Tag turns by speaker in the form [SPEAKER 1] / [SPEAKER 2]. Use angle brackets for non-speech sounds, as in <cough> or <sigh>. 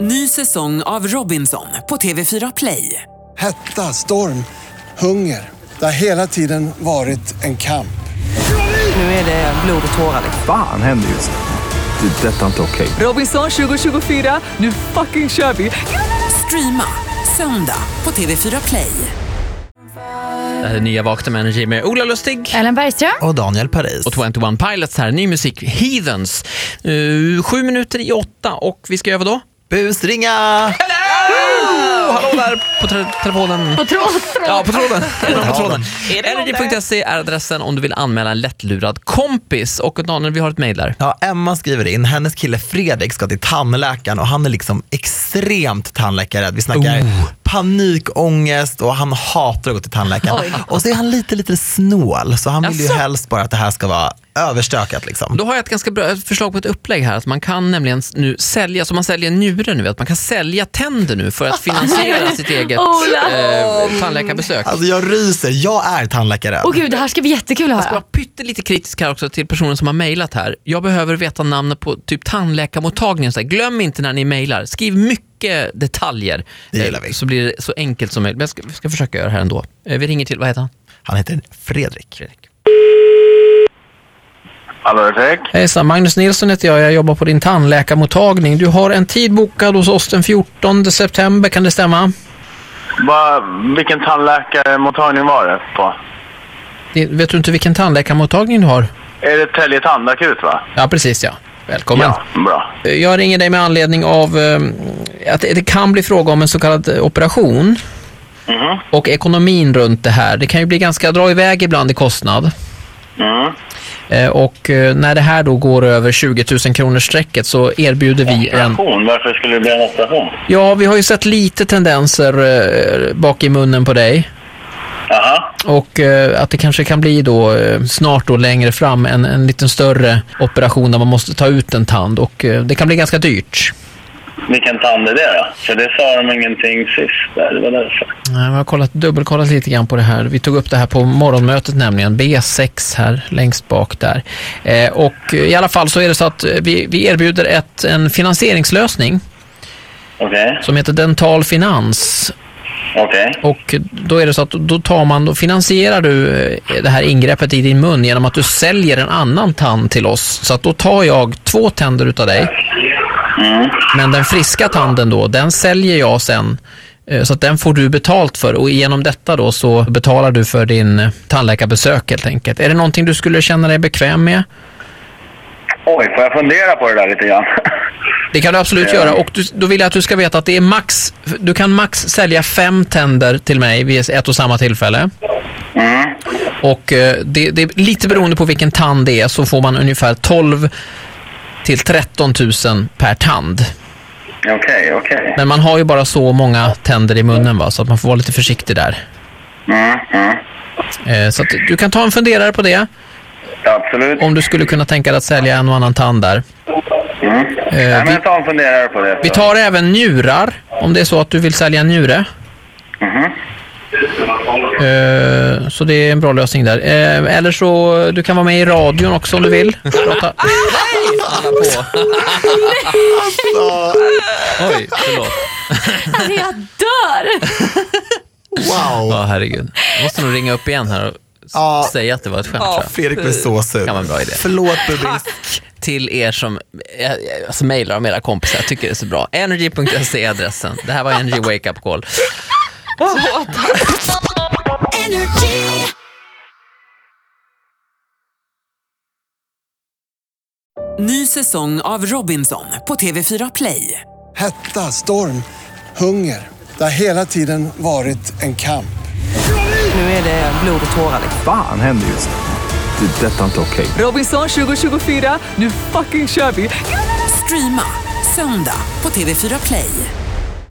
[SPEAKER 1] Ny säsong av Robinson på TV4 Play.
[SPEAKER 2] Hetta, storm, hunger. Det har hela tiden varit en kamp.
[SPEAKER 1] Nu är det blod och tårar.
[SPEAKER 3] Fan händer just nu. Det. är Detta är inte okej.
[SPEAKER 1] Robinson 2024, nu fucking kör vi! Streama söndag på TV4 Play.
[SPEAKER 4] Det här är nya Vakna med Energy med Ola Lustig
[SPEAKER 5] Ellen Bergström.
[SPEAKER 6] och Daniel Paris.
[SPEAKER 4] och 21 Pilots här. Ny musik, Heathens. Uh, sju minuter i åtta och vi ska göra vadå? <laughs>
[SPEAKER 6] Busringa!
[SPEAKER 4] Oh, hallå där på tra- telefonen.
[SPEAKER 5] På tråd, tråd.
[SPEAKER 4] Ja, på
[SPEAKER 5] <laughs>
[SPEAKER 4] tråden. Är det någon på tråden? Energy.se E är adressen om du vill anmäla en lättlurad kompis. Och Daniel, vi har ett mejl där.
[SPEAKER 6] Ja, Emma skriver in, hennes kille Fredrik ska till tandläkaren och han är liksom extremt tandläkarrädd. Vi snackar
[SPEAKER 4] Oh.
[SPEAKER 6] panikångest och han hatar att gå till tandläkaren.
[SPEAKER 5] Oj.
[SPEAKER 6] Och så är han lite, lite snål så han vill ju
[SPEAKER 4] Jaså?
[SPEAKER 6] helst bara att det här ska vara överstökat liksom.
[SPEAKER 4] Då har jag ett ganska bra förslag på ett upplägg här. Att man kan nämligen nu sälja, som man säljer njurar nu, att man kan sälja tänder nu för
[SPEAKER 5] <laughs>
[SPEAKER 4] att finansiera sitt eget
[SPEAKER 5] Ola.
[SPEAKER 4] eh, tandläkarbesök.
[SPEAKER 6] Alltså jag ryser, jag är tandläkarrädd.
[SPEAKER 5] Åh gud, det här ska bli jättekul att
[SPEAKER 4] Jag ska
[SPEAKER 5] höra.
[SPEAKER 4] vara pyttelite kritisk här också till personen som har mejlat här. Jag behöver veta namnet på typ tandläkarmottagningen. Så här, glöm inte när ni mejlar. Skriv mycket detaljer.
[SPEAKER 6] Det gillar
[SPEAKER 4] Eh,
[SPEAKER 6] vi.
[SPEAKER 4] Så blir det så enkelt som möjligt. Men jag ska, ska försöka göra det här ändå. Eh, Vi ringer till, vad heter han?
[SPEAKER 6] Han heter Fredrik.
[SPEAKER 7] Hallå, Erik.
[SPEAKER 4] Hejsan, Magnus Nilsson heter jag. Jag jobbar på din tandläkarmottagning. Du har en tid bokad hos oss den 14 september, kan det stämma?
[SPEAKER 7] Va, vilken tandläkarmottagning var det på?
[SPEAKER 4] Vet du inte vilken tandläkarmottagning du har?
[SPEAKER 7] Är det Tälje tandakut, va?
[SPEAKER 4] Ja, precis ja. Välkommen.
[SPEAKER 7] Bra.
[SPEAKER 4] Eh, Jag ringer dig med anledning av eh, att det kan bli fråga om en så kallad eh, operation. Och ekonomin runt det här. Det kan ju bli ganska, dra iväg ibland i kostnad.
[SPEAKER 7] Mm.
[SPEAKER 4] Eh, Och eh, när det här då går över 20 000 kronors strecket så erbjuder vi en...
[SPEAKER 7] Operation? Varför skulle det bli en operation?
[SPEAKER 4] Ja, vi har ju sett lite tendenser eh, bak i munnen på dig.
[SPEAKER 7] Jaha.
[SPEAKER 4] Och eh, att det kanske kan bli då eh, snart då längre fram en, en liten större operation där man måste ta ut en tand och eh, det kan bli ganska dyrt.
[SPEAKER 7] Vilken tand är det då? För det sa de ingenting sist där. Det var därför.
[SPEAKER 4] Nej, Jag har kollat, dubbelkollat lite grann på det här. Vi tog upp det här på morgonmötet nämligen, B6 här längst bak där. Eh, och eh, i alla fall så är det så att eh, vi, vi erbjuder ett, en finansieringslösning
[SPEAKER 7] Okej.
[SPEAKER 4] som heter Dental Finans.
[SPEAKER 7] Okej.
[SPEAKER 4] Och då är det så att då tar man, då finansierar du eh, det här ingreppet i din mun genom att du säljer en annan tand till oss. Så att då tar jag två tänder utav dig. Men den friska tanden då, den säljer jag sen. eh, Så att den får du betalt för och genom detta då så betalar du för din eh, tandläkarbesök helt enkelt. Är det någonting du skulle känna dig bekväm med?
[SPEAKER 7] Oj, får jag fundera på det där lite grann? <laughs>
[SPEAKER 4] Det kan du absolut göra och du, då vill jag att du ska veta att det är max, du kan max sälja fem tänder till mig vid ett och samma tillfälle.
[SPEAKER 7] Mm.
[SPEAKER 4] Och eh, det, det är lite beroende på vilken tand det är så får man ungefär 12 till 13 000 per tand.
[SPEAKER 7] Okej, okej.
[SPEAKER 4] Men man har ju bara så många tänder i munnen va, så att man får vara lite försiktig där.
[SPEAKER 7] Mm, mm.
[SPEAKER 4] Eh, Så att du kan ta en funderare på det,
[SPEAKER 7] Absolut.
[SPEAKER 4] om du skulle kunna tänka dig att sälja en och annan tand där.
[SPEAKER 7] Mm. Nej, men
[SPEAKER 4] vi-
[SPEAKER 7] jag tar en funderare på det.
[SPEAKER 4] Vi
[SPEAKER 7] så.
[SPEAKER 4] tar även njurar, om det är så att du vill sälja en njure.
[SPEAKER 7] Mhm.
[SPEAKER 4] Eh, Så det är en bra lösning där. Eh, Eller så, du kan vara med i radion också om du vill. <laughs> Prata. Oj, förlåt.
[SPEAKER 5] Alltså jag dör!
[SPEAKER 6] Wow!
[SPEAKER 4] Ja, herregud. Jag måste nog ringa upp igen här och s-
[SPEAKER 6] Ja.
[SPEAKER 4] säga att det var ett skämt. tror jag.
[SPEAKER 6] Fredrik blev så sur.
[SPEAKER 4] Kan vara en bra idé.
[SPEAKER 6] Förlåt Bubis.
[SPEAKER 4] Till er som eh, eh, alltså, mejlar om era kompisar, jag tycker det är så bra. Energy.se E är adressen. Det här var Energy Wake Up Call.
[SPEAKER 1] Ny säsong av Robinson på TV4 Play.
[SPEAKER 2] Hetta, storm, hunger. Det har hela tiden varit en kamp.
[SPEAKER 1] Nu är det blod och tårar.
[SPEAKER 3] Fan händer just nu. Det. är Detta är inte okej.
[SPEAKER 1] Robinson 2024, nu fucking kör vi! Streama söndag på TV4 Play.